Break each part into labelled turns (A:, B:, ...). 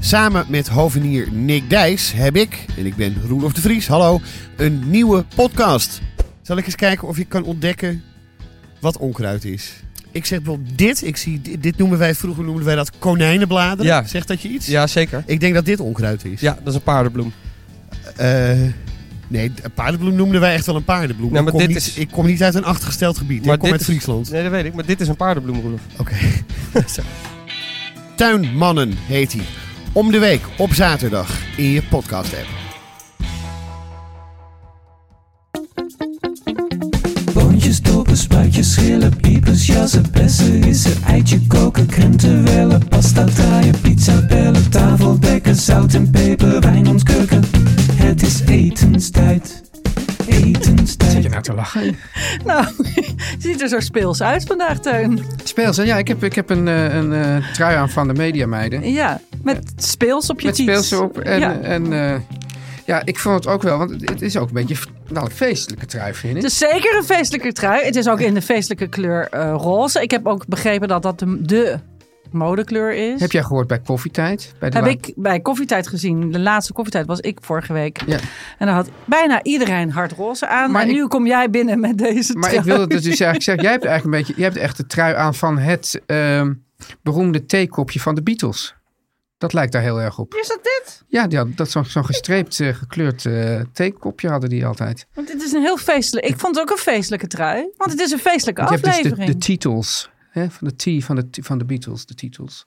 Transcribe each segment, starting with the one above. A: Samen met hovenier Nick Dijs heb ik, en ik ben Roelof de Vries, hallo, een nieuwe podcast. Zal ik eens kijken of je kan ontdekken wat onkruid is? Ik zeg wel dit, ik zie, dit, dit noemen wij, vroeger noemden wij dat konijnenbladeren.
B: Ja.
A: Zegt dat je iets?
B: Ja, zeker.
A: Ik denk dat dit onkruid is.
B: Ja, dat is een paardenbloem.
A: Eh, nee, een paardenbloem noemden wij echt wel een paardenbloem.
B: Nou, maar
A: ik, kom
B: dit
A: niet,
B: is-
A: ik kom niet uit een achtergesteld gebied, ik kom uit
B: is-
A: Friesland.
B: Nee, dat weet ik. Maar dit is een paardenbloem, Roelof.
A: Oké. Zo. Tuinmannen heet hij. Om de week op zaterdag in je podcast app.
C: Boontjes, dopen, spuitjes, schillen, piepers, jassen, bessen, rissen, eitje koken, krenten wellen, pasta draaien, pizza bellen, tafel dekken, zout en peper, wijn ontkurken. Het is etenstijd, etenstijd.
D: nou te lachen? Nou, je ziet er zo speels uit vandaag, Teun.
E: Speels, hè? ja, ik heb, ik heb een, eh, een eh, trui aan van de mediameiden.
D: Ja, met speels op je
E: Met
D: cheeks.
E: speels erop. En,
D: ja.
E: en eh, ja, ik vond het ook wel, want het- het is ook een beetje nou, een feestelijke trui, vind ik.
D: Het is zeker een feestelijke trui. Het is ook in de feestelijke kleur eh, roze. Ik heb ook begrepen dat dat de, de modekleur is.
E: Heb jij gehoord bij koffietijd? Bij de
D: Heb
E: la-
D: ik bij koffietijd gezien. De laatste koffietijd was ik vorige week.
E: Ja.
D: En daar had bijna iedereen hard roze aan. Maar
E: Maar
D: en
E: ik-
D: nu kom jij binnen met deze
E: Maar
D: trui.
E: ik wilde dus eigenlijk zeggen, jij hebt eigenlijk een beetje, jij hebt echt de trui aan van het ehm, beroemde theekopje van de Beatles. Dat lijkt daar heel erg op.
D: Is dat dit?
E: Ja, die hadden- dat zo'n zo'n gestreept, eh, gekleurd eh, theekopje hadden die altijd.
D: Want dit is een heel feestelijk... Ik vond het ook een feestelijke trui. Want het is een feestelijke
E: Want je hebt dus
D: aflevering.
E: de, de titels. Hè, van de T van de, van de Beatles, de titels.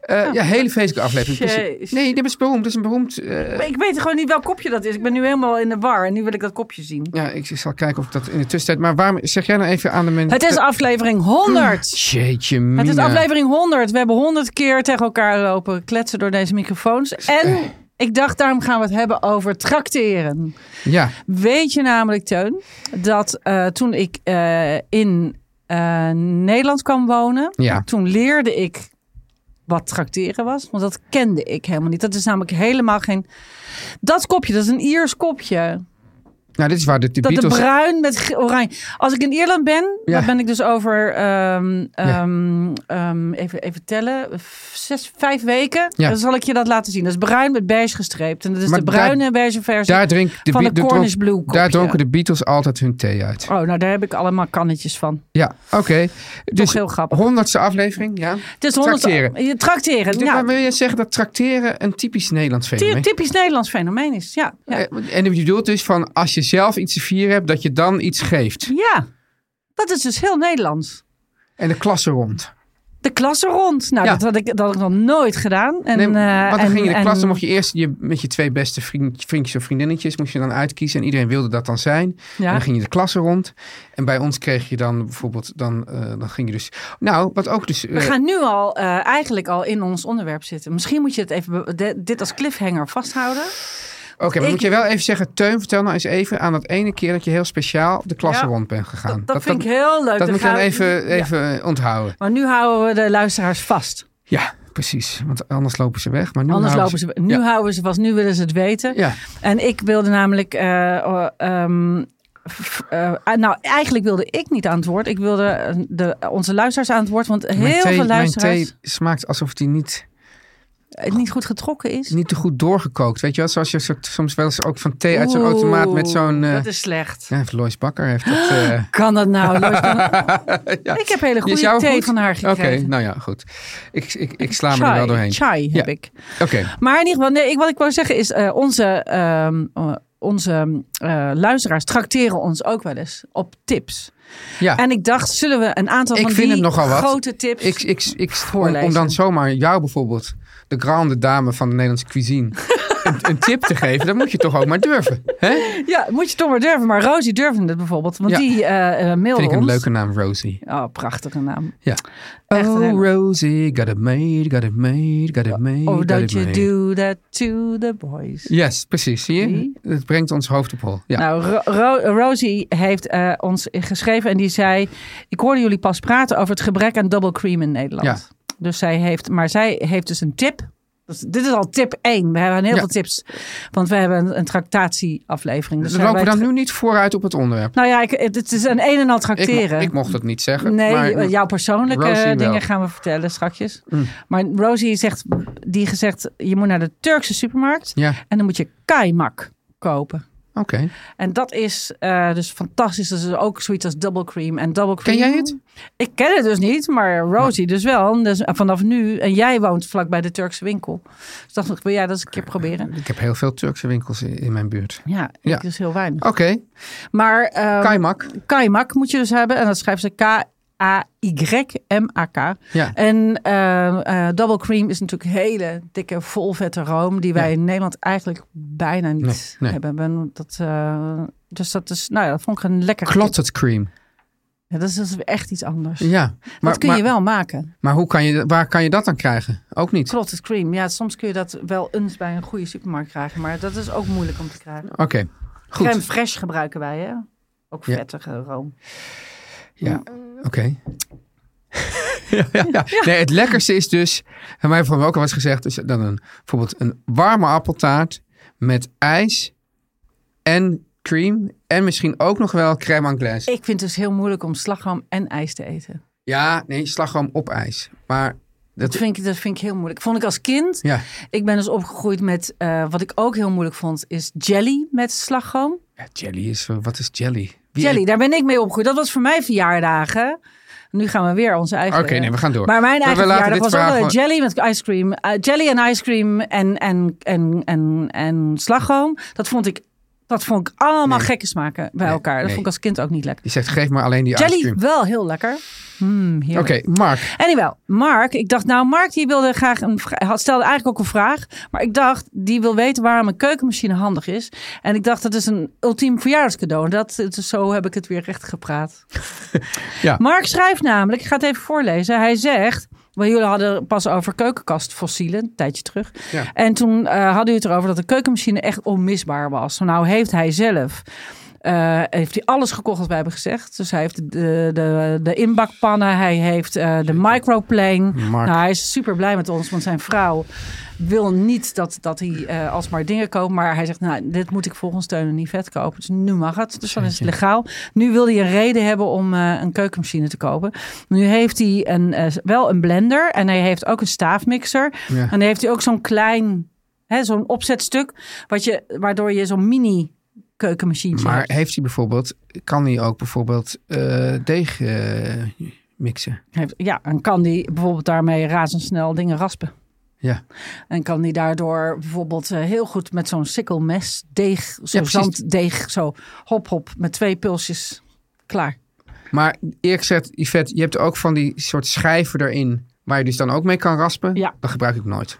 E: Eh, ja, hele feestelijke aflevering.
D: Jezus.
E: precies. Nee, dit is beroemd. Dit is een beroemd... eh,
D: Maar ik weet gewoon niet welk kopje dat is. Ik ben nu helemaal in de war en nu wil ik dat kopje zien.
E: ja, ik zal kijken of ik dat in de tussentijd... Maar waarom zeg jij nou even aan de mensen... Mm,
D: Het is aflevering 100.
E: Jeetje
D: Het is
E: mina.
D: aflevering 100. We hebben 100 keer tegen elkaar lopen kletsen door deze microfoons.
E: Eh.
D: En ik dacht, daarom gaan we het hebben over tracteren.
E: Ja,
D: Weet je namelijk, Teun, dat eh, toen ik eh, in eh, Nederland kwam wonen,
E: Ja.
D: toen leerde ik wat tracteren was. Want dat kende ik helemaal niet. Dat is namelijk helemaal geen. Dat kopje, dat is een Iers kopje.
E: nou dit is waar de, de
D: Dat
E: Beatles...
D: de bruin met ge- oranje. Als ik in Ierland ben,
E: Ja.
D: dan ben ik dus over, ehm, ehm, ehm, even, even tellen, v- zes, vijf weken.
E: Ja.
D: Dan zal ik je dat laten zien. Dat is bruin met beige gestreept. En dat is
E: Maar
D: de
E: daar-
D: bruine en beige versie
E: Daar, drink, de,
D: van de,
E: Be- de dronk-
D: Cornish Blue kopje.
E: daar dronken de Beatles altijd hun thee uit.
D: Oh, nou daar heb ik allemaal kannetjes van.
E: Ja, oké. Dus
D: heel grappig.
E: honderdste aflevering, ja.
D: Het is honderd...
E: Trakteren.
D: Je trakteren.
E: Dus
D: Nou,
E: wil je zeggen dat tracteren een typisch Nederlands
D: ty-
E: fenomeen
D: typisch Nederlands fenomeen is. Ja, ja.
E: Eh, En je bedoelt dus van als je zelf iets te vieren hebt, dat je dan iets geeft.
D: ja, dat is dus heel Nederlands.
E: En de klasse rond.
D: De klasse rond. Nou,
E: Ja.
D: dat, had ik, dat had ik nog nooit gedaan. En,
E: Nee,
D: eh,
E: want dan
D: en-
E: ging je de
D: en-
E: klasse, mocht je eerst je, met je twee beste vriend, vriendjes of vriendinnetjes, moest je dan uitkiezen. En iedereen wilde dat dan zijn. En
D: Ja.
E: dan ging je de klasse rond. En bij ons kreeg je dan bijvoorbeeld, dan, eh, dan ging je dus... Nou, wat ook dus...
D: We
E: eh,
D: gaan nu al eh, eigenlijk al in ons onderwerp zitten. Misschien moet je het even be- de- dit als cliffhanger vasthouden.
E: Oké, maar
D: ik-
E: moet je wel even zeggen, Teun, vertel nou eens even aan dat ene keer dat je heel speciaal de klasse
D: Ja,
E: rond bent gegaan.
D: Dat, vind ik heel leuk.
E: Dat moet je
D: gaan
E: dan
D: we-
E: even,
D: Ja.
E: even onthouden.
D: Maar nu houden we de luisteraars vast.
E: Ja, precies. Want anders lopen ze weg. Maar nu
D: Anders
E: houden
D: lopen ze. Nu
E: Ja.
D: houden ze vast. Nu willen ze het weten.
E: Ja,
D: En ik wilde namelijk. eh, oh, ehm, f- eh, ah, nou, eigenlijk wilde ik niet aan het woord. Ik wilde eh, de, onze luisteraars aan het woord. Want heel
E: mijn, thee,
D: veel
E: mijn
D: luisteraars.
E: thee smaakt alsof die niet
D: het niet goed getrokken is.
E: Niet te goed doorgekookt. Weet je wel, zoals je soort, soms wel eens ook van thee uit zo'n automaat met zo'n... eh,
D: dat is slecht.
E: ja, Lois Bakker heeft dat... eh,
D: Kan dat nou? Lois? Kan dat-
E: ja.
D: Ik heb hele
E: Die is
D: goede
E: jou
D: thee
E: goed?
D: van haar gekregen.
E: Oké, nou ja, goed. Ik, ik, ik sla me er wel doorheen.
D: Chai heb
E: Ja.
D: ik.
E: Oké,
D: Maar in ieder geval, nee, ik, wat ik wou zeggen is, eh, onze, ehm, eh, onze eh, luisteraars tracteren ons ook wel eens op tips.
E: ja.
D: En ik dacht, zullen we een aantal
E: Ik
D: van
E: vind
D: die
E: het nogal wat.
D: grote tips...
E: Ik, ik, ik, om,
D: Voorlezen.
E: om dan zomaar jou bijvoorbeeld, de grande dame van de Nederlandse cuisine, een, een tip te geven, dan moet je toch ook maar durven. Hè?
D: Ja, moet je toch maar durven. Maar Rosie durfde het bijvoorbeeld, want
E: Ja.
D: die eh eh, mailde
E: Vind ik een
D: ons.
E: leuke naam, Rosie.
D: Oh, prachtige naam.
E: Ja.
D: Echt een hele-
E: oh, Rosie, got it made, got it made, got it made.
D: Oh,
E: got
D: don't
E: it
D: you
E: made.
D: do that to the boys.
E: Yes, precies. Zie je?
D: Zie?
E: Het brengt ons hoofd op hol. Ja.
D: Nou, Ro- Ro- Rosie heeft eh, ons geschreven en die zei... Ik hoorde jullie pas praten over het gebrek aan double cream in Nederland. Dus zij heeft, maar zij heeft dus een tip. Dus dit is al tip 1. We hebben heel
E: Ja.
D: veel tips. Want we hebben een, een tractatieaflevering. Dus
E: we
D: zij
E: lopen
D: weet-
E: dan nu niet vooruit op het onderwerp.
D: Nou ja, ik, het het is een een en al
E: Ik, mo-
D: tracteren.
E: ik mocht het niet zeggen.
D: Nee, eh,
E: maar,
D: jouw persoonlijke
E: Rosie wel. Mm.
D: dingen gaan we vertellen straks. Maar Rosie zegt, die gezegd, je moet naar de Turkse supermarkt
E: Ja,
D: en dan moet je kaimak kopen.
E: oké.
D: En dat is eh, dus fantastisch. Dat is ook zoiets als double cream en double
E: Ken
D: cream.
E: jij het?
D: Ik ken het dus niet, maar Rosie dus wel. Dus vanaf nu, en jij woont vlakbij de Turkse winkel. Dus dacht ik, wil jij dat eens een keer proberen?
E: Eh, Ik heb heel veel Turkse winkels in, in mijn buurt.
D: Ja, ik
E: Ja.
D: dus heel weinig.
E: Oké,
D: Maar ehm,
E: kaimak.
D: kaimak moet je dus hebben. En dat schrijft ze K-A-Y-M-A-K.
E: Ja.
D: En eh, eh, double cream is natuurlijk hele dikke, volvette room. Die wij
E: Ja.
D: in Nederland eigenlijk bijna niet
E: Nee, nee.
D: hebben. Ben- Dat, eh, dus dat is, nou ja, dat vond ik een lekker...
E: Clotted cream.
D: Ja, dat, is, dat is echt iets anders.
E: Ja.
D: dat kun je wel maken.
E: Maar hoe kan je, waar kan je dat dan krijgen? Ook niet.
D: Clotted cream. Ja, soms kun je dat wel eens bij een goede supermarkt krijgen. Maar dat is ook moeilijk om te krijgen.
E: Oké, goed.
D: Crème fraîche gebruiken wij, hè? Ook
E: Ja.
D: vettige room.
E: Ja, oké. ja, ja, ja. Nee, het lekkerste is dus, en mij van ook al was gezegd, is dan een, bijvoorbeeld een warme appeltaart met ijs en cream en misschien ook nog wel crème anglaise.
D: Ik vind het dus heel moeilijk om slagroom en ijs te eten.
E: Ja, nee, slagroom op ijs. Maar
D: Dat
E: dat,
D: vind ik, dat vind ik heel moeilijk. Vond ik als kind.
E: ja,
D: Ik ben dus opgegroeid met, eh, wat ik ook heel moeilijk vond, is jelly met slagroom.
E: ja, jelly is, eh, wat is jelly? Wie
D: Jelly,
E: eet-
D: daar ben ik mee opgegroeid. Dat was voor mij verjaardagen. Nu gaan we weer onze eigen...
E: Oké, nee, we gaan door.
D: Maar mijn
E: Maar
D: eigen
E: we laten
D: verjaardag
E: dit
D: was ook
E: verhaal
D: wel jelly met ice cream. eh, jelly en ice cream en, en, en, en, en slagroom. Dat vond ik, dat vond ik allemaal gekke smaken bij
E: Nee,
D: elkaar. Dat
E: nee.
D: vond ik als kind ook niet lekker.
E: Die zegt, geef maar alleen die ice
D: Jelly
E: cream.
D: wel heel lekker. Hmm,
E: Oké,
D: heerlijk.
E: Mark.
D: Anyway, Mark, ik dacht nou, Mark die wilde graag een vra- had stelde eigenlijk ook een vraag, maar ik dacht die wil weten waarom een keukenmachine handig is. En ik dacht dat is een ultiem verjaarscadeau. En Dat dus zo heb ik het weer recht gepraat.
E: Ja.
D: Mark schrijft namelijk, ik ga het even voorlezen. Hij zegt want jullie hadden pas over keukenkastfossielen, een tijdje terug.
E: Ja.
D: En toen eh, hadden jullie het erover dat de keukenmachine echt onmisbaar was. Nou heeft hij zelf eh, heeft hij alles gekocht wat wij hebben gezegd. Dus hij heeft de, de, de inbakpannen, hij heeft eh, de microplane.
E: Mark.
D: Nou, hij is super blij met ons, want zijn vrouw wil niet dat, dat hij eh, alsmaar dingen koopt. Maar hij zegt, nou, dit moet ik volgens Teun en Yvette kopen. Dus nu mag het, dus dan is het legaal. Nu wil hij een reden hebben om eh, een keukenmachine te kopen. Nu heeft hij een, eh, wel een blender en hij heeft ook een staafmixer.
E: Ja.
D: En dan heeft hij ook zo'n klein, hè, zo'n opzetstuk, wat je, waardoor je zo'n mini keukenmachientje
E: Maar
D: hebt.
E: heeft hij bijvoorbeeld, kan hij ook bijvoorbeeld eh, deeg eh, mixen?
D: Heeft- ja, en kan die bijvoorbeeld daarmee razendsnel dingen raspen.
E: Ja.
D: En kan die daardoor bijvoorbeeld eh, heel goed met zo'n sikkelmes deeg, zo'n
E: precies.
D: zanddeeg, zo hop hop, met twee pulsjes, klaar.
E: Maar eerlijk gezegd, Yvette, je hebt ook van die soort schijven erin. Waar je dus dan ook mee kan raspen.
D: Ja. Mhm.
E: Dat gebruik ik nooit.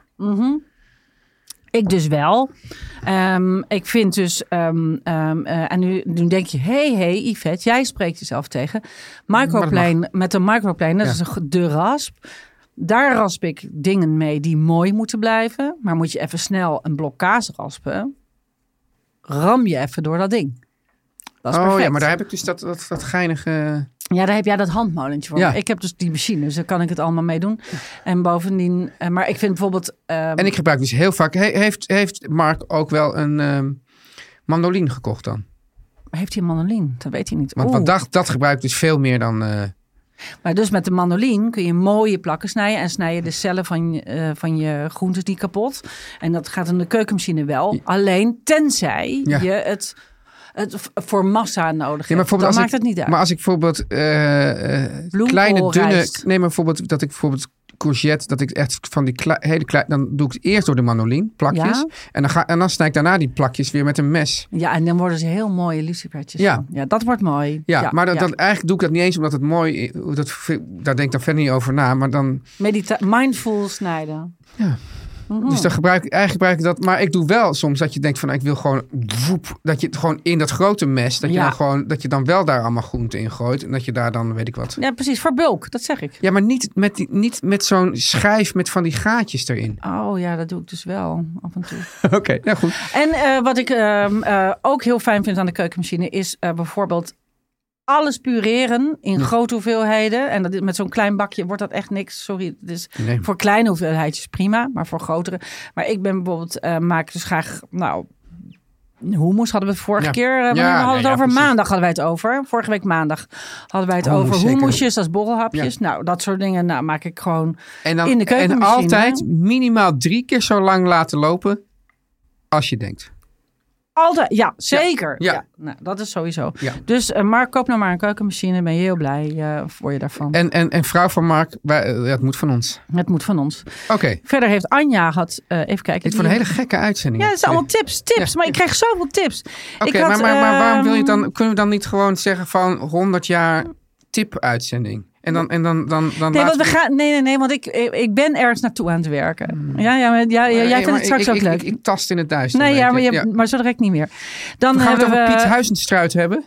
D: Ik dus wel. Ehm, ik vind dus, ehm, ehm, eh, en nu, nu denk je, hey, hey, Yvette, jij spreekt jezelf tegen. Microplane, met een microplane, dat
E: Ja.
D: is een, ge- de rasp. Daar rasp ik dingen mee die mooi moeten blijven. Maar moet je even snel een blok kaas raspen, ram je even door dat ding. Dat is
E: oh
D: perfect.
E: ja, maar daar heb ik dus dat, dat, dat geinige.
D: Ja, daar heb jij dat handmolentje voor.
E: Ja.
D: Ik heb dus die machine, dus daar kan ik het allemaal mee doen. En bovendien, eh, maar ik vind bijvoorbeeld... ehm,
E: En ik gebruik dus heel vaak. He- heeft, heeft Mark ook wel een ehm mandoline gekocht dan?
D: Heeft hij een mandoline? Dat weet hij niet.
E: Want,
D: Oeh.
E: want dat, dat gebruik ik dus veel meer dan. eh,
D: Maar dus met de mandoline kun je mooie plakken snijden. En snij je de cellen van, je- eh, van je groentes niet kapot. En dat gaat in de keukenmachine wel. Alleen tenzij
E: Ja.
D: je het, het v- voor massa nodig hebt.
E: Ja, maar bijvoorbeeld
D: dan
E: als
D: maakt
E: ik-
D: het niet uit.
E: Maar als ik bijvoorbeeld eh, eh,
D: Bloemkoolrijst.
E: kleine dunne... Nee, maar bijvoorbeeld dat ik bijvoorbeeld courgette, dat ik echt van die klei- hele kleine... Dan doe ik het eerst door de mandoline, plakjes.
D: Ja.
E: En, dan ga, en dan snij ik daarna die plakjes weer met een mes.
D: Ja, en dan worden ze heel mooie lucifertjes.
E: Ja.
D: Ja. ja, dat wordt mooi.
E: Ja, maar dat,
D: ja.
E: dat, eigenlijk doe ik dat niet eens omdat het mooi is. Dat, daar denk ik dan verder niet over na. Maar dan,
D: Medita- mindful snijden. Mhm.
E: Dus dan gebruik ik, eigenlijk gebruik ik dat. Maar ik doe wel soms dat je denkt van ik wil gewoon woep, dat je het gewoon in dat grote mes, dat, je
D: Ja.
E: dan gewoon, dat je dan wel daar allemaal groente in gooit. En dat je daar dan weet ik wat.
D: Ja, precies. Voor bulk, dat zeg ik.
E: Ja, maar niet met, die, niet met zo'n schijf met van die gaatjes erin.
D: Oh ja, dat doe ik dus wel af en toe.
E: Oké, ja goed.
D: En eh, wat ik ehm, eh, ook heel fijn vind aan de keukenmachine is eh, bijvoorbeeld alles pureren in grote hoeveelheden. En dat, is- met zo'n klein bakje wordt dat echt niks. Sorry, dus
E: Nee.
D: voor kleine hoeveelheidjes prima, maar voor grotere. Maar ik ben bijvoorbeeld, eh, maak dus graag, nou, hummus hadden we het vorige
E: Ja.
D: keer. eh, wanneer
E: Ja,
D: we hadden
E: nee,
D: het
E: ja,
D: over
E: precies.
D: maandag hadden wij het over. Vorige week maandag hadden wij het
E: Hummus,
D: over
E: zeker.
D: hummusjes, dat is borrelhapjes. Nou, dat soort dingen, nou maak ik gewoon
E: En, dan,
D: in de
E: en
D: keukenmachine.
E: altijd minimaal drie keer zo lang laten lopen als je denkt.
D: Altijd, ja, zeker.
E: Ja.
D: Ja, nou, dat is sowieso.
E: Ja.
D: Dus eh Mark, koop nou maar een keukenmachine. Ben je heel blij eh voor je daarvan.
E: En, en, en vrouw van Mark, wij, eh, het moet van ons.
D: Het moet van ons.
E: Oké,
D: Verder heeft Anja had, eh, even kijken.
E: dit voor een
D: die-
E: hele gekke uitzending.
D: Ja, het zijn allemaal tips, tips.
E: Ja.
D: Maar ik krijg zoveel tips.
E: Oké,
D: had,
E: maar, maar, maar waarom wil je het
D: ehm,
E: dan, kunnen we dan niet gewoon zeggen van 100 jaar tip-uitzending? En dan, en dan, dan, dan
D: Nee, want
E: laten
D: we gaan, nee, nee, nee, want ik, ik ben ergens naartoe aan het werken. Ja, ja, maar, ja, ja,
E: Nee,
D: jij vindt
E: Hmm. maar
D: het straks
E: ik,
D: ook
E: ik- Ik,
D: leuk.
E: ik tast in het duister.
D: nee,
E: een
D: ja, maar,
E: beetje.
D: je, maar zo direct niet meer. Dan
E: Gaan we
D: hebben
E: het over
D: we...
E: Piet Huizenstruit hebben?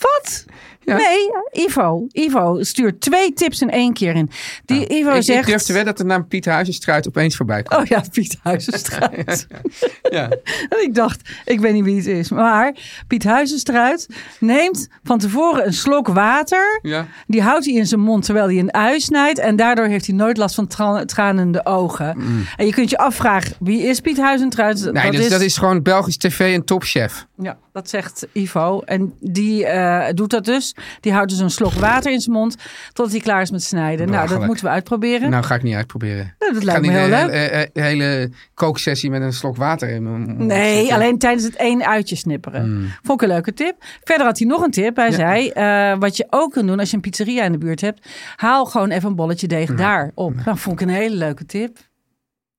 D: Wat?
E: Ja.
D: Nee, Ivo. Ivo stuurt twee tips in één keer in. Die Ivo
E: Ah. ik,
D: zegt...
E: ik durf te wedden dat de naam Piet Huizenstruit opeens voorbij komt.
D: Oh ja, Piet Huizenstruit.
E: Ja.
D: en ik dacht, ik weet niet wie het is. Maar Piet Huizenstruit neemt van tevoren een slok water.
E: Ja.
D: Die houdt hij in zijn mond terwijl hij een ui snijdt. En daardoor heeft hij nooit last van tra- tranende ogen. En je kunt je afvragen, wie is Piet Huizenstruit?
E: Mm. Nee, dat, is... dat is gewoon Belgisch TV en topchef.
D: Ja, dat zegt Ivo. En die eh, doet dat dus. Die houdt dus een slok water in zijn mond totdat hij klaar is met snijden. Nou, dat
E: Belachelijk.
D: moeten we uitproberen.
E: Nou, ga ik niet uitproberen.
D: Nou, dat
E: Ik ga
D: lijkt me
E: niet
D: heel
E: de
D: leuk.
E: hele, eh, eh, hele kooksessie met een slok water in mijn mond
D: Nee,
E: zitten.
D: alleen tijdens het één uitje snipperen.
E: Mm.
D: Vond ik een leuke tip. Verder had hij nog een tip. Hij zei, eh, wat je ook kunt doen als je een pizzeria in de buurt hebt. Haal gewoon even een bolletje deeg daar op. Nou, vond ik een hele leuke tip.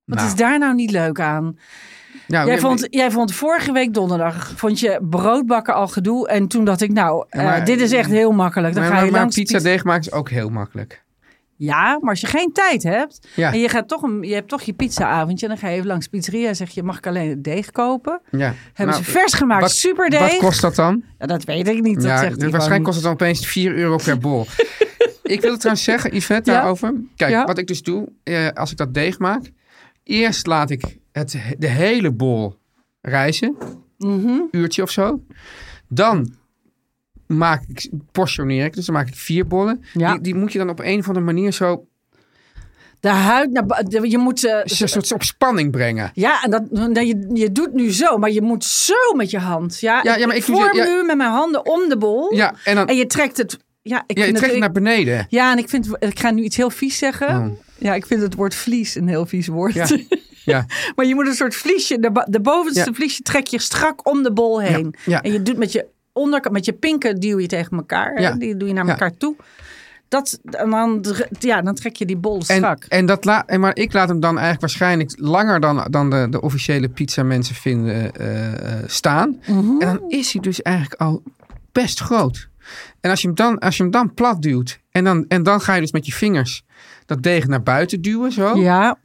D: Wat
E: Nou.
D: is daar nou niet leuk aan?
E: Nou,
D: Jij
E: ja,
D: vond, jij vond vorige week donderdag vond je broodbakken al gedoe. En toen dacht ik, nou,
E: Ja, maar-
D: eh, dit is echt heel makkelijk. Dan
E: maar,
D: ga je
E: maar, maar
D: langs de
E: pizza
D: pizza-
E: deeg maken is ook heel makkelijk.
D: Ja, maar als je geen tijd hebt
E: Ja.
D: en je, gaat toch een, je hebt toch je pizzaavondje... en dan ga je even langs de pizzeria en zeg je... mag ik alleen het deeg kopen?
E: Ja.
D: Hebben
E: Nou,
D: ze vers gemaakt
E: wat-
D: superdeeg?
E: Wat kost dat dan?
D: Ja, dat weet ik niet. Dat
E: ja,
D: zegt
E: dus
D: Ivo
E: waarschijnlijk
D: niet.
E: kost het dan opeens 4 euro per bol. ik wil het trouwens zeggen, Yvette,
D: Ja?
E: daarover. Kijk,
D: Ja?
E: wat ik dus doe, eh, als ik dat deeg maak. Eerst laat ik het, de hele bol rijzen. Uurtje of zo. Dan maak ik, portioneer ik. Dus dan maak ik vier bollen.
D: Ja.
E: Die, die moet je dan op een of andere manier zo,
D: De huid naar bu- de- Je moet. eh,
E: zo, soort op spanning brengen.
D: ja, en dat, nou, je, je doet nu zo, maar je moet zo met je hand. Ja,
E: Ja, ja, maar ik doe-
D: vorm
E: ja.
D: nu met mijn handen om de bol.
E: Ja, en dan
D: En je trekt het. Ja, ik
E: ja, je
D: vind
E: trekt het
D: het,
E: naar beneden.
D: ja, en ik vind. Ik ga nu iets heel vies zeggen.
E: Oh.
D: Ja, ik vind het woord vlies een heel vies woord.
E: Ja. Ja.
D: maar je moet een soort vliesje. De, ba- de bovenste
E: Ja.
D: vliesje trek je strak om de bol heen.
E: ja.
D: En je doet met je onderkant, met je pinken duw je tegen elkaar. hè.
E: Ja.
D: Die doe je naar
E: Ja.
D: elkaar toe. Dat, en dan, ja, dan trek je die bol
E: En,
D: strak.
E: en dat la, en maar ik laat hem dan eigenlijk waarschijnlijk langer dan, dan de, de officiële pizza mensen vinden eh, eh, staan.
D: Mhm.
E: En dan is hij dus eigenlijk al best groot. En als je hem dan, als je hem dan plat duwt en dan, en dan ga je dus met je vingers dat deeg naar buiten duwen zo.
D: Ja,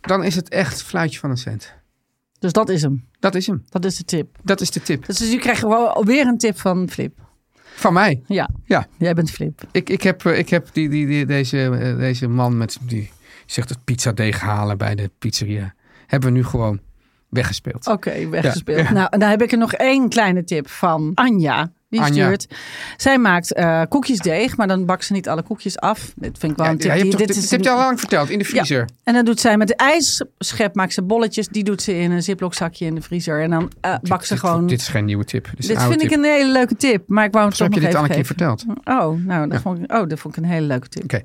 E: Dan is het echt fluitje van een cent.
D: dus dat is hem.
E: Dat is hem.
D: Dat is de tip.
E: Dat is de tip.
D: Dus, dus u krijgt gewoon weer een tip van Flip.
E: Van mij.
D: Ja,
E: Ja,
D: jij bent Flip.
E: ik, ik heb, eh, ik heb die, die, die, deze, eh, deze man met die zegt het pizzadeeg halen bij de pizzeria. Hebben we nu gewoon weggespeeld.
D: Oké, weggespeeld. Nou, en dan heb ik er nog één kleine tip van Anja. die
E: Anja.
D: stuurt. Zij maakt eh, koekjesdeeg, maar dan bakt ze niet alle koekjes af. Dat vind ik wel
E: Ja,
D: een tip.
E: ja, je
D: die-
E: hebt toch- dit, dit heb je al lang verteld, in de
D: Ja.
E: vriezer.
D: En dan doet zij met de ijsschep, maakt ze bolletjes. Die doet ze in een ziplock zakje in de vriezer. En dan eh, bakt ze
E: Dit-
D: gewoon...
E: Dit is geen nieuwe tip. Dit, is
D: Dit
E: een oude
D: vind ik
E: tip.
D: een hele leuke tip, maar ik wou hem
E: Zo
D: toch
E: heb je
D: nog
E: dit al
D: even
E: een keer
D: geven.
E: verteld.
D: Oh, nou, dat,
E: Ja.
D: vond ik, oh, dat vond ik een hele leuke tip.
E: Oké.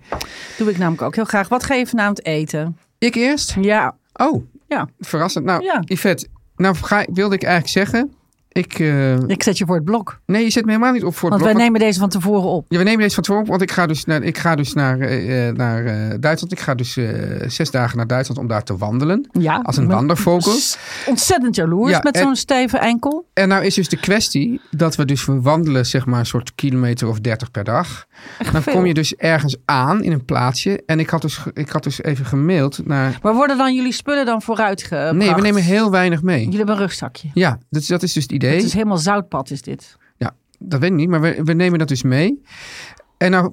D: Doe ik namelijk ook heel graag. Wat ga je vanavond eten?
E: Ik eerst?
D: Ja,
E: Oh,
D: ja.
E: verrassend. Nou,
D: Ja.
E: Yvette, nou ga, wilde ik eigenlijk zeggen... Ik, eh,
D: Ik zet je voor het blok.
E: nee, je zet me helemaal niet op voor het
D: want
E: blok,
D: wij nemen deze van tevoren op.
E: Ja, we nemen deze van tevoren op, want ik ga dus naar, ik ga dus naar, eh, eh, naar eh, Duitsland. Ik ga dus eh, zes dagen naar Duitsland om daar te wandelen.
D: Ja,
E: Als een
D: ik ben
E: wandervogel.
D: s- Ontzettend jaloers
E: Ja,
D: met
E: en-
D: zo'n steve enkel.
E: En nou is dus de kwestie dat we dus we wandelen zeg maar een soort kilometer of 30 per dag. Dan
D: veel.
E: kom je dus ergens aan in een plaatsje. En ik had dus, ge- ik had dus even gemaild naar...
D: Maar worden dan jullie spullen dan vooruit gebracht?
E: Nee, we nemen heel weinig mee.
D: Jullie hebben een rugzakje.
E: Ja, dus dat is dus het idee.
D: Het is helemaal zoutpad is dit.
E: Ja, dat weet ik niet, maar we, we nemen dat dus mee. En nou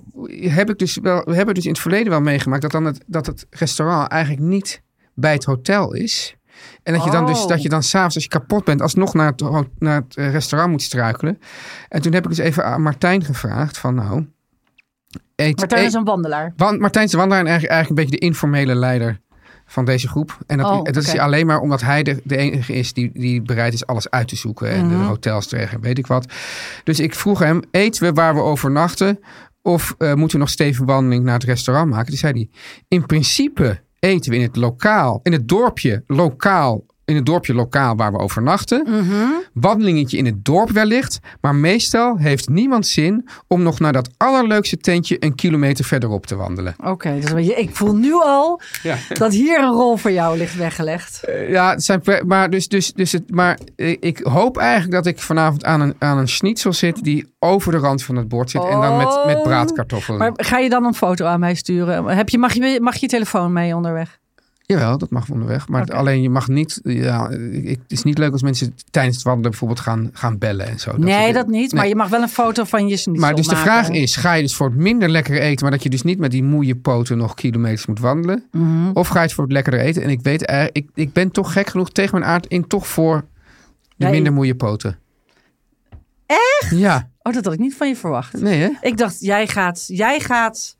E: heb ik dus wel, we hebben dus in het verleden wel meegemaakt dat, dan het, dat het restaurant Oh, eigenlijk niet bij het hotel is. En dat je dan dus,
D: Oh.
E: dat je dan s'avonds als je kapot bent, alsnog naar het, ho- naar het eh, restaurant moet struikelen. En toen heb ik dus even aan Martijn gevraagd van nou, eet,
D: Maar daar
E: eet-
D: is een wandelaar.
E: Wan- Martijn de Wandelaar is eigenlijk, eigenlijk een beetje de informele leider van deze groep. En dat,
D: Oh,
E: dat is
D: oké.
E: hij alleen maar omdat hij de, de enige is die, die bereid is alles uit te zoeken. En
D: Mhm.
E: de hotels te regelen, weet ik wat. Dus ik vroeg hem, eten we waar we overnachten? Of eh, moeten we nog stevige wandeling naar het restaurant maken? Toen zei hij, in principe eten we in het lokaal, in het dorpje lokaal... In het dorpje lokaal waar we overnachten.
D: Mhm.
E: Wandelingetje in het dorp wellicht. Maar meestal heeft niemand zin om nog naar dat allerleukste tentje een kilometer verderop te wandelen.
D: Oké, dus een beetje- ik voel nu al dat hier een rol voor jou ligt weggelegd.
E: Eh, ja, het zijn, pre- maar, dus, dus, dus het, maar eh, ik hoop eigenlijk dat ik vanavond aan een, aan een schnitzel zit die over de rand van het bord zit. En dan met, met
D: Oh.
E: braadkartoffelen.
D: Maar ga je dan een foto aan mij sturen? Heb je, mag, je, mag je telefoon mee onderweg?
E: Oh, Jawel, dat mag onderweg. Maar het-
D: Oké.
E: alleen je mag niet. Ja, ik, het is niet leuk als mensen tijdens het wandelen bijvoorbeeld gaan, gaan bellen en zo. Dat
D: nee,
E: soort-
D: dat niet. Maar
E: Nee.
D: je mag wel een foto van je snitsel
E: Maar dus de
D: maken.
E: vraag is: ga je dus voor het minder lekker eten, maar dat je dus niet met die moeie poten nog kilometers moet wandelen?
D: Mhm.
E: Of ga je het voor het lekkerder eten? En ik weet eigenlijk, ik, ik ben toch gek genoeg tegen mijn aard in toch voor de
D: Nee.
E: minder moeie poten. Echt? Ja,
D: Oh, dat had ik niet van je verwacht.
E: nee hè?
D: Ik dacht, jij gaat, jij gaat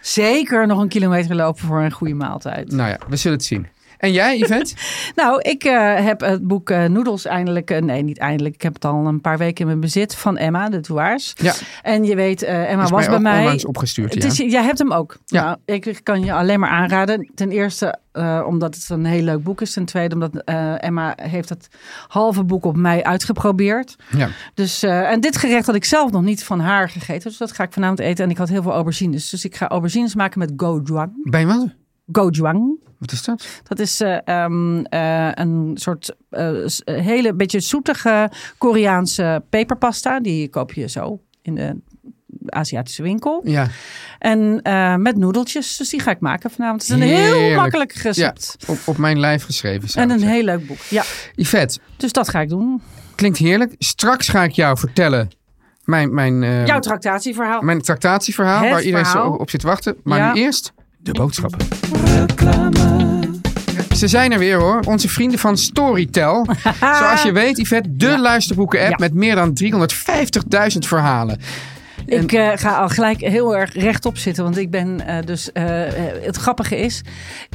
D: zeker nog een kilometer lopen voor een goede maaltijd.
E: Nou ja, we zullen het zien. En jij, Yvette?
D: Nou, ik eh, heb het boek eh Noedels eindelijk... eh, nee, niet eindelijk. Ik heb het al een paar weken in mijn bezit van Emma, de douaars.
E: Ja,
D: En je weet, eh, Emma
E: is
D: was
E: mij
D: bij
E: ook
D: mij...
E: onlangs opgestuurd.
D: Het
E: ja.
D: is, jij hebt hem ook.
E: Ja.
D: Nou, ik, ik kan je alleen maar aanraden. Ten eerste eh, omdat het een heel leuk boek is. Ten tweede omdat eh, Emma heeft het halve boek op mij uitgeprobeerd.
E: ja.
D: Dus, eh, en dit gerecht had ik zelf nog niet van haar gegeten. Dus dat ga ik vanavond eten. En ik had heel veel aubergines. Dus ik ga aubergines maken met gojuang.
E: Bij wat?
D: Gojuang.
E: Wat is dat?
D: Dat is eh, ehm, eh, een soort eh, s- hele beetje zoetige Koreaanse peperpasta. Die koop je zo in de Aziatische winkel.
E: Ja.
D: En eh, met noedeltjes. Dus die ga ik maken vanavond. Het is een heel
E: Heerlijk.
D: makkelijk
E: ja.
D: recept.
E: Op, op mijn lijf geschreven. zou
D: En
E: ik
D: een
E: zeggen.
D: heel leuk boek. Ja,
E: Yvette,
D: dus dat ga ik doen.
E: klinkt heerlijk. Straks ga ik jou vertellen mijn, mijn, eh,
D: Jouw tractatieverhaal.
E: mijn tractatieverhaal,
D: Het
E: waar iedereen
D: verhaal.
E: zo op zit te wachten. Maar
D: Ja.
E: nu eerst de boodschappen. Ze zijn er weer hoor, onze vrienden van Storytel.
D: Ah.
E: Zoals je weet, Yvette, de luisterboeken-app
D: Ja.
E: met meer dan 350.000 verhalen.
D: Ik eh, ga al gelijk heel erg rechtop zitten. Want ik ben eh, dus. eh, eh, het grappige is.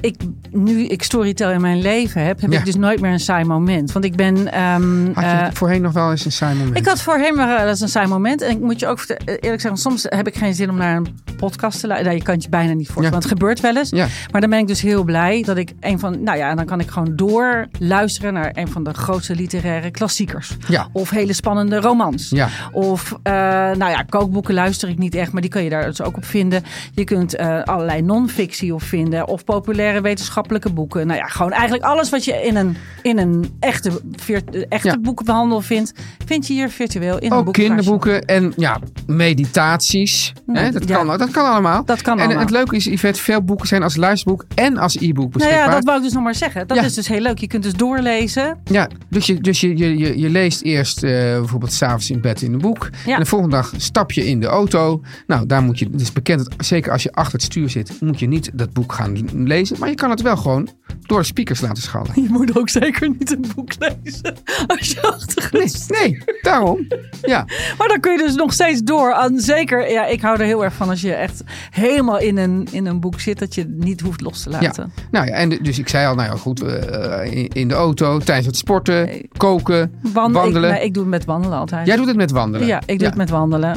D: Ik, nu ik storytel in mijn leven heb. heb
E: Ja.
D: ik dus nooit meer een saai moment. Want ik ben. ehm,
E: Had je
D: eh,
E: voorheen nog wel eens een saai moment?
D: ik had voorheen maar eh, dat is een saai moment. En ik moet je ook verte- eh, eerlijk zeggen, soms heb ik geen zin om naar een podcast te luisteren. je kan het je bijna niet voorstellen,
E: Ja.
D: want het gebeurt wel eens.
E: Ja.
D: Maar dan ben ik dus heel blij dat ik een van... Nou ja, en dan kan ik gewoon door luisteren naar een van de grootste literaire klassiekers.
E: Ja.
D: Of hele spannende romans.
E: Ja.
D: Of, eh, nou ja, kookboeken luister ik niet echt, maar die kan je daar dus ook op vinden. Je kunt eh, allerlei non-fictie op vinden. Of populaire wetenschappelijke boeken. Nou ja, gewoon eigenlijk alles wat je in een, in een echte, vir- echte
E: Ja.
D: boekenhandel vindt, vind je hier virtueel in een
E: Ook
D: boekenkastje.
E: kinderboeken en ja, meditaties. Hè, dat,
D: ja.
E: kan, dat kan allemaal.
D: Dat kan
E: en
D: allemaal.
E: het leuke is, Yvette, veel boeken zijn als luisterboek en als e-book
D: Nou
E: beschikbaar.
D: ja, dat wou ik dus nog maar zeggen. Dat
E: Ja.
D: is dus heel leuk. Je kunt dus doorlezen.
E: Ja, dus je, dus je, je, je, je leest eerst eh bijvoorbeeld s'avonds in bed in een boek.
D: Ja.
E: En de volgende dag stap je in in de auto. Nou, daar moet je, het is bekend dat zeker als je achter het stuur zit, moet je niet dat boek gaan lezen. Maar je kan het wel gewoon door de speakers laten schallen.
D: Je moet ook zeker niet een boek lezen als je achtergrond.
E: Nee, nee daarom. Ja.
D: Maar dan kun je dus nog steeds door. En zeker, ja, ik hou er heel erg van als je echt helemaal in een, in een boek zit, dat je het niet hoeft los te laten.
E: Ja. Nou ja, en de- dus ik zei al, nou ja, goed, eh, in, in de auto, tijdens het sporten, koken,
D: Wan-
E: wandelen.
D: Ik, nee, ik doe het met wandelen altijd.
E: Jij doet het met wandelen.
D: Ja, ik doe het met wandelen.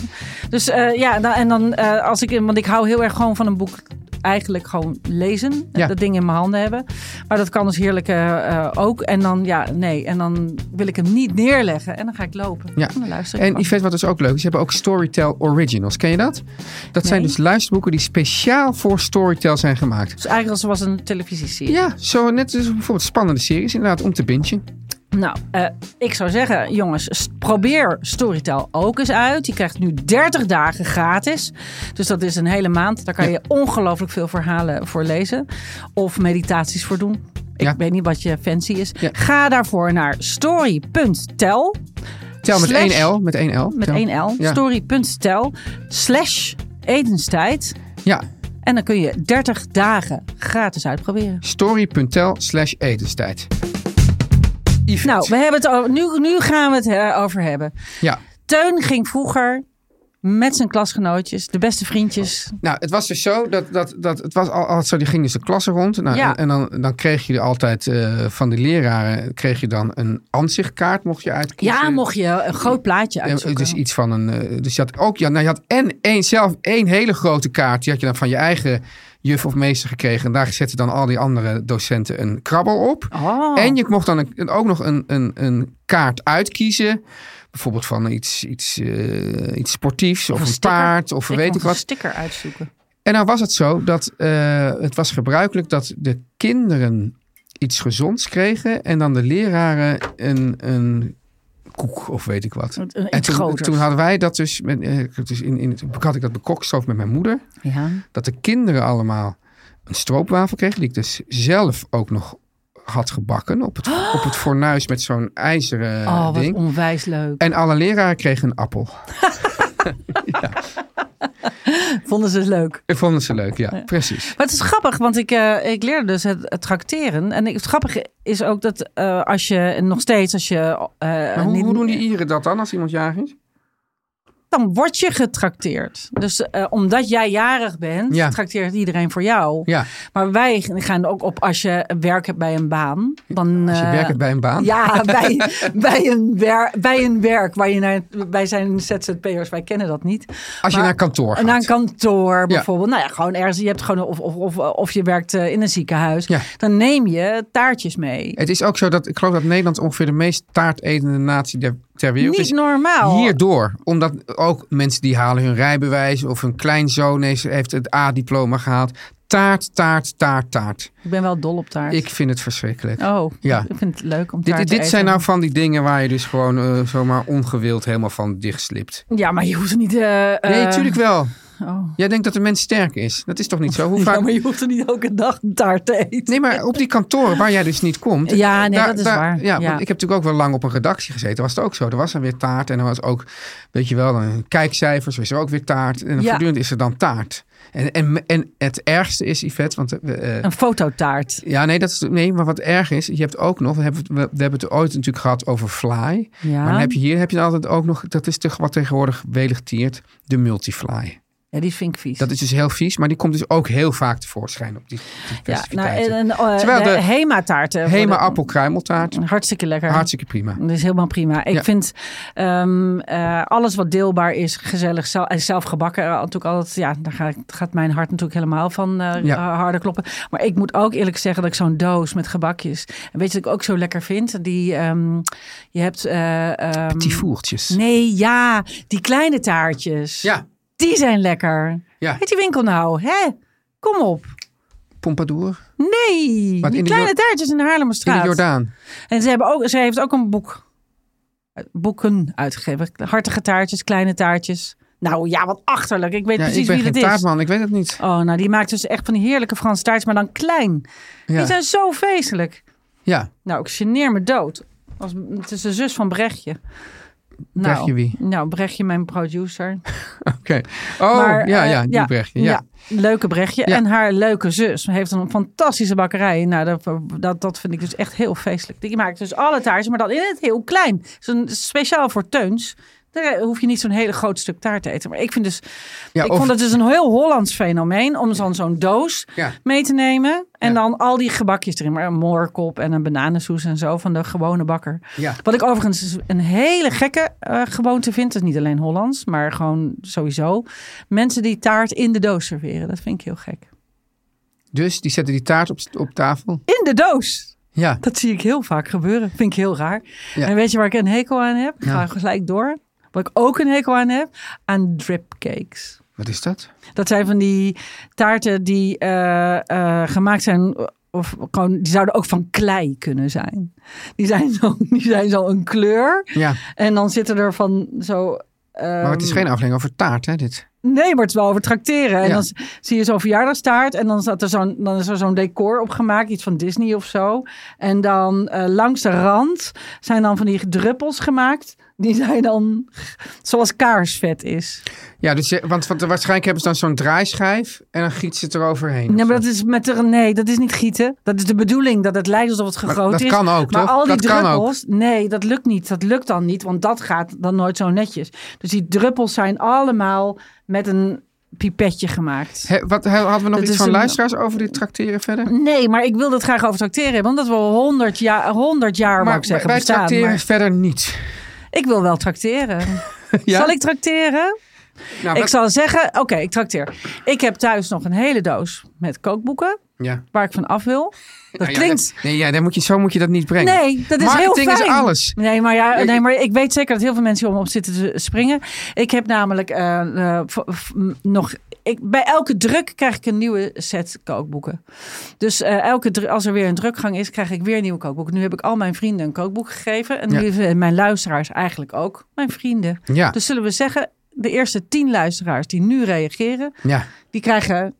D: Dus eh, ja, nou, en dan eh, als ik, want ik hou heel erg gewoon van een boek. Eigenlijk gewoon lezen.
E: Ja.
D: Dat ding in mijn handen hebben. Maar dat kan dus heerlijk eh, eh, ook. En dan, ja, nee. En dan wil ik hem niet neerleggen. En dan ga ik lopen.
E: Ja.
D: En dan luister ik.
E: En
D: gewoon.
E: Yvette, wat dus ook leuk is, ze hebben ook Storytel Originals. Ken je dat? Dat zijn
D: Nee.
E: dus luisterboeken die speciaal voor Storytel zijn gemaakt.
D: Dus eigenlijk als het was een televisieserie.
E: Ja, zo net als bijvoorbeeld spannende series inderdaad om te bingen.
D: Nou, eh, ik zou zeggen, jongens, s- probeer Storytel ook eens uit. Je krijgt nu 30 dagen gratis. Dus dat is een hele maand. Daar kan je ongelooflijk veel verhalen voor lezen. Of meditaties voor doen. Ik
E: Ja.
D: weet niet wat je fancy is.
E: Ja.
D: Ga daarvoor naar story.tel.
E: Tel met
D: Slash-
E: 1 L, met 1 L.
D: Met
E: Tel.
D: 1 L.
E: Ja.
D: Story.tel slash etenstijd.
E: Ja,
D: En dan kun je 30 dagen gratis uitproberen.
E: story.tel slash etenstijd. Yvette.
D: Nou, we hebben het over, nu, nu gaan we het eh, over hebben.
E: Ja.
D: Teun ging vroeger met zijn klasgenootjes, de beste vriendjes.
E: Nou, het was dus zo dat, dat, dat het was al, al zo, die ging dus de klasse rond. Nou,
D: Ja.
E: En, en dan, dan kreeg je altijd eh, van de leraren kreeg je dan een aanzichtkaart, mocht je uitkiezen.
D: Ja, mocht je een groot plaatje
E: Ja,
D: uitzoeken.
E: dus iets van een. eh, Dus je had ook. Ja, nou, je had en één, zelf één hele grote kaart. Die had je dan van je eigen juf of meester gekregen. En daar zetten dan al die andere docenten een krabbel op.
D: Oh.
E: En je mocht dan een- ook nog een, een, een kaart uitkiezen. Bijvoorbeeld van iets, iets, eh, iets sportiefs of,
D: een
E: een
D: sticker.
E: paard of
D: Ik
E: weet
D: mocht
E: ik
D: een
E: wat.
D: sticker uitzoeken.
E: En nou was het zo dat eh, het was gebruikelijk dat de kinderen iets gezonds kregen en dan de leraren een, een koek of weet ik wat.
D: Een- een
E: en
D: iets
E: toen,
D: groter.
E: toen hadden wij dat dus, met, eh, dus in, in, toen had ik dat bekokstoofd met mijn moeder,
D: Ja.
E: dat de kinderen allemaal een stroopwafel kregen, die ik dus zelf ook nog had gebakken op het, op het fornuis met zo'n ijzeren
D: Oh, wat
E: Eh, ding.
D: onwijs leuk.
E: En alle leraren kregen een appel.
D: Vonden ze het leuk?
E: Ik vond ze leuk, ja, precies.
D: Maar het is grappig, want ik, eh, ik leerde dus het, het tracteren. En ik, het grappige is ook dat eh, als je en nog steeds, als je. eh,
E: Maar hoe,
D: niet-
E: hoe doen die Ieren dat dan als iemand jarig is?
D: Dan word je getrakteerd. Dus eh, omdat jij jarig bent,
E: Ja.
D: trakteert iedereen voor jou.
E: Ja.
D: Maar wij gaan ook op als je werk hebt bij een baan. Dan,
E: Als je
D: eh,
E: werkt bij een baan.
D: Ja, bij, bij, een wer, bij een werk waar je naar. Wij zijn ZZP'ers, wij kennen dat niet.
E: Als je
D: Maar-
E: naar kantoor gaat.
D: Naar een kantoor bijvoorbeeld. Nou ja, gewoon ergens. Je hebt gewoon, of, of, of, of je werkt eh, in een ziekenhuis.
E: Ja.
D: Dan neem je taartjes mee.
E: Het is ook zo dat ik geloof dat Nederland ongeveer de meest taartetende natie der, ter wereld
D: Niet
E: is.
D: normaal.
E: Hierdoor, omdat ook mensen die halen hun rijbewijs of hun kleinzoon is- heeft het A-diploma gehaald. Taart, taart, taart, taart.
D: Ik ben wel dol op taart.
E: Ik vind het verschrikkelijk.
D: oh,
E: Ja.
D: ik vind het leuk om taart
E: dit
D: te
E: dit zijn
D: eten.
E: nou van die dingen waar je dus gewoon eh, zomaar ongewild helemaal van dichtslipt.
D: Ja, maar je hoeft er niet... eh
E: Nee,
D: eh,
E: natuurlijk wel.
D: oh.
E: Jij denkt dat de mens sterk is. Dat is toch niet zo? Hoe
D: Ja,
E: vaak...
D: maar je hoeft er niet elke dag een taart te eten.
E: Nee, maar op die kantoren waar jij dus niet komt.
D: Ja, nee, dat is waar.
E: Ja,
D: Ja.
E: Want ik heb natuurlijk ook wel lang op een redactie gezeten. Was het ook zo. Er was dan weer taart en er was ook, weet je wel, dan kijkcijfers, was er ook weer taart. En
D: Ja.
E: voortdurend is er dan taart. En, en, en het ergste is, Yvette, want... eh, eh,
D: Een fototaart.
E: ja, nee, dat is, nee, maar wat erg is, je hebt ook nog, we hebben, het- we, we hebben het ooit natuurlijk gehad over fly.
D: Ja.
E: Maar dan heb je hier heb je altijd ook nog, dat is toch wat tegenwoordig weligtiert, de multifly.
D: Ja, die vind ik vies.
E: Dat is dus heel vies, maar die komt dus ook heel vaak tevoorschijn op die, die
D: ja, nou,
E: festiviteiten.
D: en, en, eh,
E: Terwijl
D: de
E: de-
D: Hema-taarten. worden-
E: Hema appelkruimeltaart.
D: Hartstikke lekker.
E: Hartstikke prima.
D: Dat is helemaal prima. Ik
E: Ja.
D: vind ehm, eh, alles wat deelbaar is, gezellig. Zelf, en zelf gebakken, eh, natuurlijk altijd. Ja, daar ga ik- gaat mijn hart natuurlijk helemaal van eh,
E: Ja.
D: eh, harder kloppen. Maar ik moet ook eerlijk zeggen dat ik zo'n doos met gebakjes. En weet je wat ik ook zo lekker vind? Die, ehm, je hebt. eh, ehm,
E: Die voertjes.
D: nee, ja, die kleine taartjes.
E: Ja,
D: Die zijn lekker.
E: ja.
D: Heet die winkel nou, hè? Kom op.
E: Pompadour.
D: Nee,
E: Wat,
D: die
E: in de
D: kleine
E: Jor-
D: taartjes in de
E: In de
D: Haarlemmerstraat.
E: Jordaan.
D: En ze, hebben ook, ze heeft ook een boek. eh, Boeken uitgegeven. Hartige taartjes, kleine taartjes. Nou ja, wat achterlijk. Ik weet
E: Ja,
D: precies
E: ik ben
D: wie
E: geen
D: het is.
E: taartman, ik weet het niet.
D: Oh, nou die maakt dus echt van die heerlijke Franse taartjes, maar dan klein. Die
E: Ja.
D: zijn zo feestelijk.
E: ja.
D: Nou, ik geneer me dood. Als, het is de zus van Brechtje. Nou,
E: Brechtje wie?
D: Nou, Brechtje, mijn producer.
E: Oké. Oh,
D: Maar,
E: ja,
D: eh,
E: ja, die
D: ja,
E: Brechtje. Ja.
D: Leuke Brechtje.
E: Ja.
D: En haar leuke zus heeft een fantastische bakkerij. Nou, dat, dat, dat vind ik dus echt heel feestelijk. Die maakt dus alle taarten, maar dan in het heel klein. Zo'n speciaal voor Teuns. Daar hoef je niet zo'n hele groot stuk taart te eten. Maar ik vind dus,
E: Ja,
D: ik
E: of-
D: vond het dus een heel Hollands fenomeen om dan zo'n doos
E: Ja.
D: mee te nemen. En
E: Ja.
D: dan al die gebakjes erin. Maar een moorkop en een bananensoes en zo van de gewone bakker.
E: Ja.
D: Wat ik overigens dus een hele gekke eh, gewoonte vind. Dat is niet alleen Hollands, maar gewoon sowieso. Mensen die taart in de doos serveren. Dat vind ik heel gek.
E: Dus die zetten die taart op, op tafel.
D: In de doos!
E: Ah, Ja.
D: Dat zie ik heel vaak gebeuren. Vind ik heel raar.
E: Ja.
D: En weet je waar ik een hekel aan heb? Ik ga
E: Nou.
D: gelijk door. Wat ik ook een hekel aan heb? Aan dripcakes.
E: Wat is dat?
D: Dat zijn van die taarten die eh, eh, gemaakt zijn. Of gewoon, die zouden ook van klei kunnen zijn. Die zijn zo, die zijn zo een kleur.
E: Ja.
D: En dan zitten er van zo.
E: Maar het is
D: ehm,
E: geen aflevering over taart, hè, dit?
D: Nee, maar het is wel over tracteren. En
E: Ja.
D: dan s- zie je zo'n verjaardagstaart. En dan, staat er zo'n, dan is er zo'n decor opgemaakt. Iets van Disney of zo. En dan eh, langs de rand zijn dan van die druppels gemaakt. Die zijn dan zoals kaarsvet is.
E: Ja, dus, je- want, want waarschijnlijk hebben ze dan zo'n draaischijf en dan giet ze het eroverheen.
D: Nee,
E: of
D: maar
E: zo.
D: dat is met de, nee, dat is niet gieten. Dat is de bedoeling dat het lijkt alsof het
E: Maar
D: gegroot
E: dat
D: is.
E: kan ook,
D: maar
E: toch?
D: al die
E: Dat kan ook.
D: druppels, nee, dat lukt niet. Dat lukt dan niet, want dat gaat dan nooit zo netjes. Dus die druppels zijn allemaal met een pipetje gemaakt.
E: Hè, wat, hè, hadden we nog
D: Dat
E: iets
D: is
E: van
D: een-
E: luisteraars over dit tracteren verder?
D: Nee, maar ik wil dat graag over tracteren hebben, omdat we al 100 jaar, 100 jaar wou
E: maar
D: ik zeggen,
E: wij
D: bestaan.
E: tracteren
D: Maar
E: verder niet.
D: ik wil wel tracteren.
E: Ja?
D: Zal ik tracteren?
E: Nou,
D: ik
E: wat-
D: zal zeggen, oké, ik tracteer. Ik heb thuis nog een hele doos met kookboeken
E: Ja.
D: waar ik van af wil. Dat
E: Nou ja,
D: klinkt
E: dat- nee, ja, dan moet je, zo moet je dat niet brengen.
D: Nee, dat is
E: Marketing
D: heel
E: is
D: fijn.
E: alles.
D: Nee maar, ja,
E: Ja,
D: nee,
E: je-
D: maar ik weet zeker dat heel veel mensen om op zitten te springen. Ik heb namelijk eh, eh, v- v- m- nog... Ik, bij elke druk krijg ik een nieuwe set kookboeken. Dus eh, elke dru- als er weer een drukgang is, krijg ik weer een nieuwe kookboek. Nu heb ik al mijn vrienden een kookboek gegeven. En
E: Ja.
D: nu zijn mijn luisteraars eigenlijk ook mijn vrienden.
E: Ja,
D: Dus zullen we zeggen, de eerste tien luisteraars die nu reageren...
E: ja.
D: Die krijgen.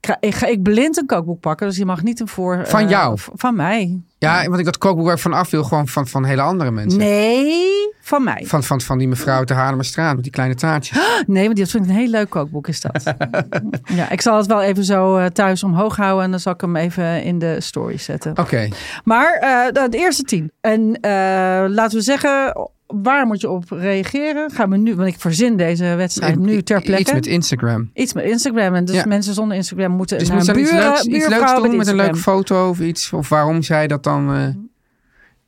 D: kri- Ik ga ik blind een kookboek pakken, dus je mag niet een voor.
E: Van
D: eh,
E: jou?
D: v- van mij.
E: ja, want ik dat kookboek waar ik van af wil, gewoon van, van hele andere mensen.
D: Nee, van mij. Ah,
E: Van, van, van die mevrouw uit de Haarlemmerstraat met die kleine taartjes.
D: Nee, want dat vind ik een heel leuk kookboek, is dat. ja, ik zal het wel even zo eh, thuis omhoog houden en dan zal ik hem even in de story zetten.
E: Oké,
D: Maar eh, de, de eerste tien. En eh, laten we zeggen, waar moet je op reageren? Gaan we nu, want ik verzin deze wedstrijd
E: Ik-
D: nu ter
E: i-
D: plekke.
E: iets met Instagram.
D: Iets met Instagram. En dus
E: Ja.
D: mensen zonder Instagram moeten
E: Dus
D: naar
E: moet ze dan iets
D: buren-
E: leuks, iets
D: buurvrouwen
E: leuks doen met
D: met
E: een leuke
D: Instagram. Mhm.
E: foto of iets? Of waarom zij dat dan... eh,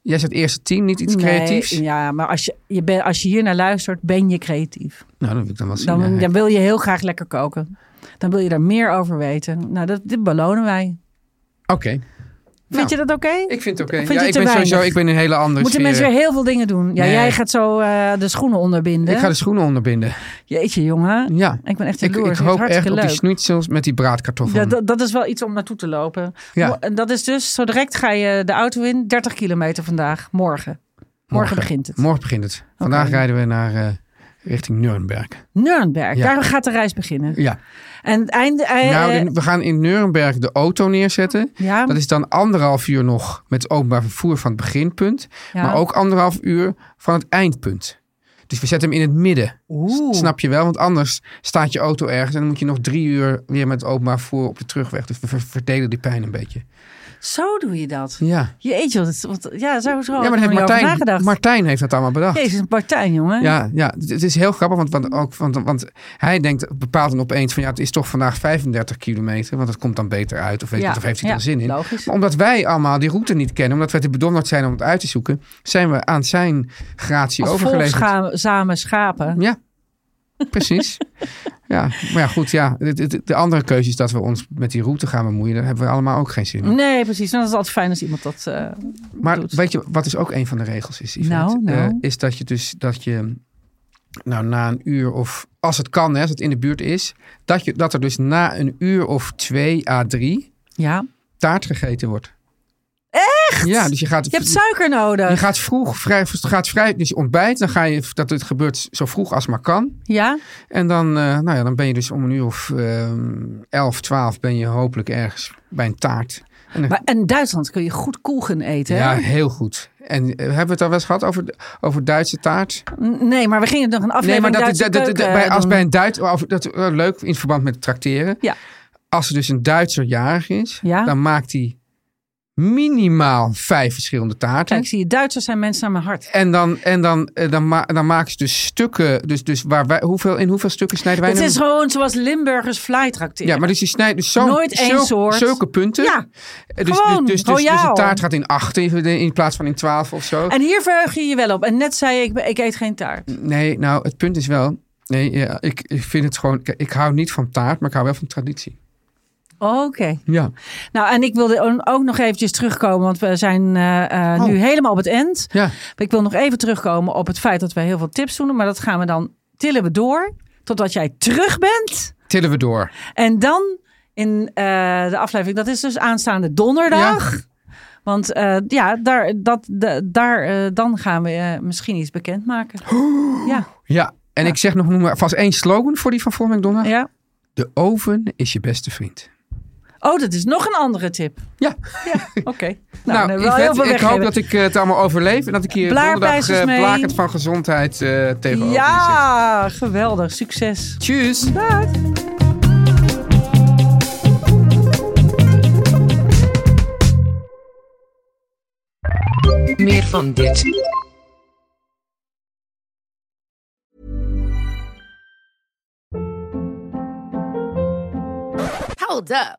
E: jij zegt eerste tien, niet iets
D: Nee,
E: creatiefs?
D: Ja, maar als je, je ben, als je hier naar luistert, ben je creatief.
E: Nou, dat wil ik dan wel zien.
D: Dan,
E: eigenlijk.
D: dan wil je heel graag lekker koken. Dan wil je daar meer over weten. Nou, dat, dit belonen wij.
E: Oké,
D: Vind
E: Nou,
D: je dat oké?
E: ik vind het oké.
D: Vind
E: Ja,
D: je
E: ik
D: te
E: ben sowieso
D: weinig?
E: ik ben een hele andere
D: Moeten
E: sfeer.
D: mensen weer heel veel dingen doen. Ja,
E: Nee.
D: jij gaat zo eh, de schoenen onderbinden.
E: Ik ga de schoenen onderbinden.
D: Jeetje, jongen.
E: Ja.
D: Ik ben echt
E: Ik,
D: jaloers.
E: ik
D: Het is
E: hoop echt
D: hartstikke
E: op die
D: leuk.
E: schnitzels met die braadkartoffel.
D: Ja, dat, dat is wel iets om naartoe te lopen.
E: Ja.
D: Mo- en Dat is dus, zo direct ga je de auto in. 30 kilometer vandaag, morgen. Morgen, begint het.
E: Morgen begint het. Vandaag rijden we naar eh, richting
D: Eh,
E: Nuremberg.
D: Nuremberg,
E: Ja.
D: daar gaat de reis beginnen.
E: Ja.
D: En het einde... eh,
E: Nou,
D: eh,
E: de- we gaan in Nuremberg de auto neerzetten.
D: ja.
E: Dat is dan anderhalf uur nog met openbaar vervoer van het beginpunt.
D: Ja.
E: Maar ook anderhalf uur van het eindpunt. Dus we zetten hem in het midden.
D: Oeh.
E: Snap je wel? Want anders staat je auto ergens en dan moet je nog drie uur weer met openbaar vervoer op de terugweg. Dus we ver- verdelen die pijn een beetje.
D: Zo doe je dat.
E: Ja.
D: Jeetje, wat, wat- ja, zo zo.
E: ja,
D: had ik
E: maar dat
D: er
E: heeft
D: niet over
E: Martijn,
D: nagedacht.
E: Martijn heeft dat allemaal bedacht.
D: Jezus, Martijn, jongen.
E: Ja, ja, het het is heel grappig, want, want, ook, want, want hij denkt bepaalt dan opeens van ja, het is toch vandaag 35 kilometer, want dat komt dan beter uit. Of, weet ik
D: Ja,
E: niet, of heeft hij
D: ja,
E: er zin in?
D: logisch.
E: Maar omdat wij allemaal die route niet kennen, omdat wij te bedonderd zijn om het uit te zoeken, zijn we aan zijn gratie
D: Als
E: overgeleverd.
D: volgzame schapen.
E: Ja, precies. ja, maar ja, goed, ja. De, de- de andere keuze is dat we ons met die route gaan bemoeien. Daar hebben we allemaal ook geen zin in.
D: Nee, precies. En dat is altijd fijn als iemand dat... eh,
E: Maar
D: doet.
E: weet je wat is ook een van de regels is? Yvette?
D: Nou, nou.
E: Eh, is dat je dus dat je nou na een uur of als het kan, hè, als het in de buurt is, dat, je, dat er dus na een uur of twee à drie
D: ja.
E: taart gegeten wordt. Echt? Ja, dus je gaat.
D: Je hebt suiker nodig.
E: je gaat vroeg, vrij, gaat vrij, dus je ontbijt, dan ga je, dat het gebeurt zo vroeg als maar kan.
D: Ja?
E: En dan, eh, nou ja, dan ben je dus om een uur of ehm elf, twaalf ben je hopelijk ergens bij een taart. En dan-
D: Maar in Duitsland kun je goed koegen eten. hè?
E: Ja, heel goed. En eh, hebben we het al wel eens gehad over, de- over Duitse taart?
D: N- Nee, maar we gingen nog een
E: Nee,
D: aflevering
E: maar dat,
D: Duitse
E: dat- dat- dat-
D: keuken,
E: bij,
D: eh,
E: als
D: doen.
E: bij een Duits, of dat, eh, leuk in verband met tracteren.
D: Ja.
E: Als er dus een Duitser jarig is,
D: Ja.
E: dan maakt hij minimaal vijf verschillende taarten.
D: Kijk, zie je, Duitsers zijn mensen aan mijn hart.
E: En dan, en dan, eh, dan, ma- dan maken ze dus stukken. Dus, dus waar wij, hoeveel, in hoeveel stukken snijden wij
D: Het
E: nu?
D: is gewoon zoals Limburgers fly tracteren.
E: Ja, maar dus je snijdt dus zo,
D: Nooit één
E: zulke-
D: soort.
E: zulke punten.
D: Ja,
E: Eh, dus,
D: gewoon,
E: dus, dus, dus, dus
D: royaal.
E: een taart gaat in acht in, in plaats van in twaalf of zo.
D: En hier verheug je je wel op. En net zei je, ik, ben- ik eet geen taart.
E: Nee, nou, het punt is wel. Nee, ja, ik, ik vind het gewoon. kijk, Ik hou niet van taart, maar ik hou wel van traditie.
D: Oh, Oké.
E: Ja.
D: Nou, en ik wilde ook nog eventjes terugkomen, want we zijn eh, eh, nu helemaal op het eind.
E: Oh. Ja.
D: Maar ik wil nog even terugkomen op het feit dat we heel veel tips doen. Maar dat gaan we dan tillen we door totdat jij terug bent.
E: Tillen we door.
D: En dan in eh, de aflevering, dat is dus aanstaande donderdag. Want eh, ja, daar, dat, da- daar, eh, dan gaan we eh, misschien iets bekendmaken.
E: Oh.
D: Ja,
E: Ja. En ik zeg nog noem maar vast één slogan voor die van volgende week donderdag.
D: ja.
E: De oven is je beste vriend.
D: Oh, dat is nog een andere tip.
E: Ja.
D: Oké.
E: Nou,
D: dan hebben we wel
E: Yvette,
D: heel veel
E: ik hoop
D: weggegeven.
E: dat ik eh, het allemaal overleef. En dat ik hier donderdag
D: Blaarpijsjes
E: eh,
D: mee.
E: blakend van gezondheid eh tegenover je zit.
D: Ja, geweldig. Succes.
E: Tjus.
D: Dag.
C: Meer van dit.
F: Hold up.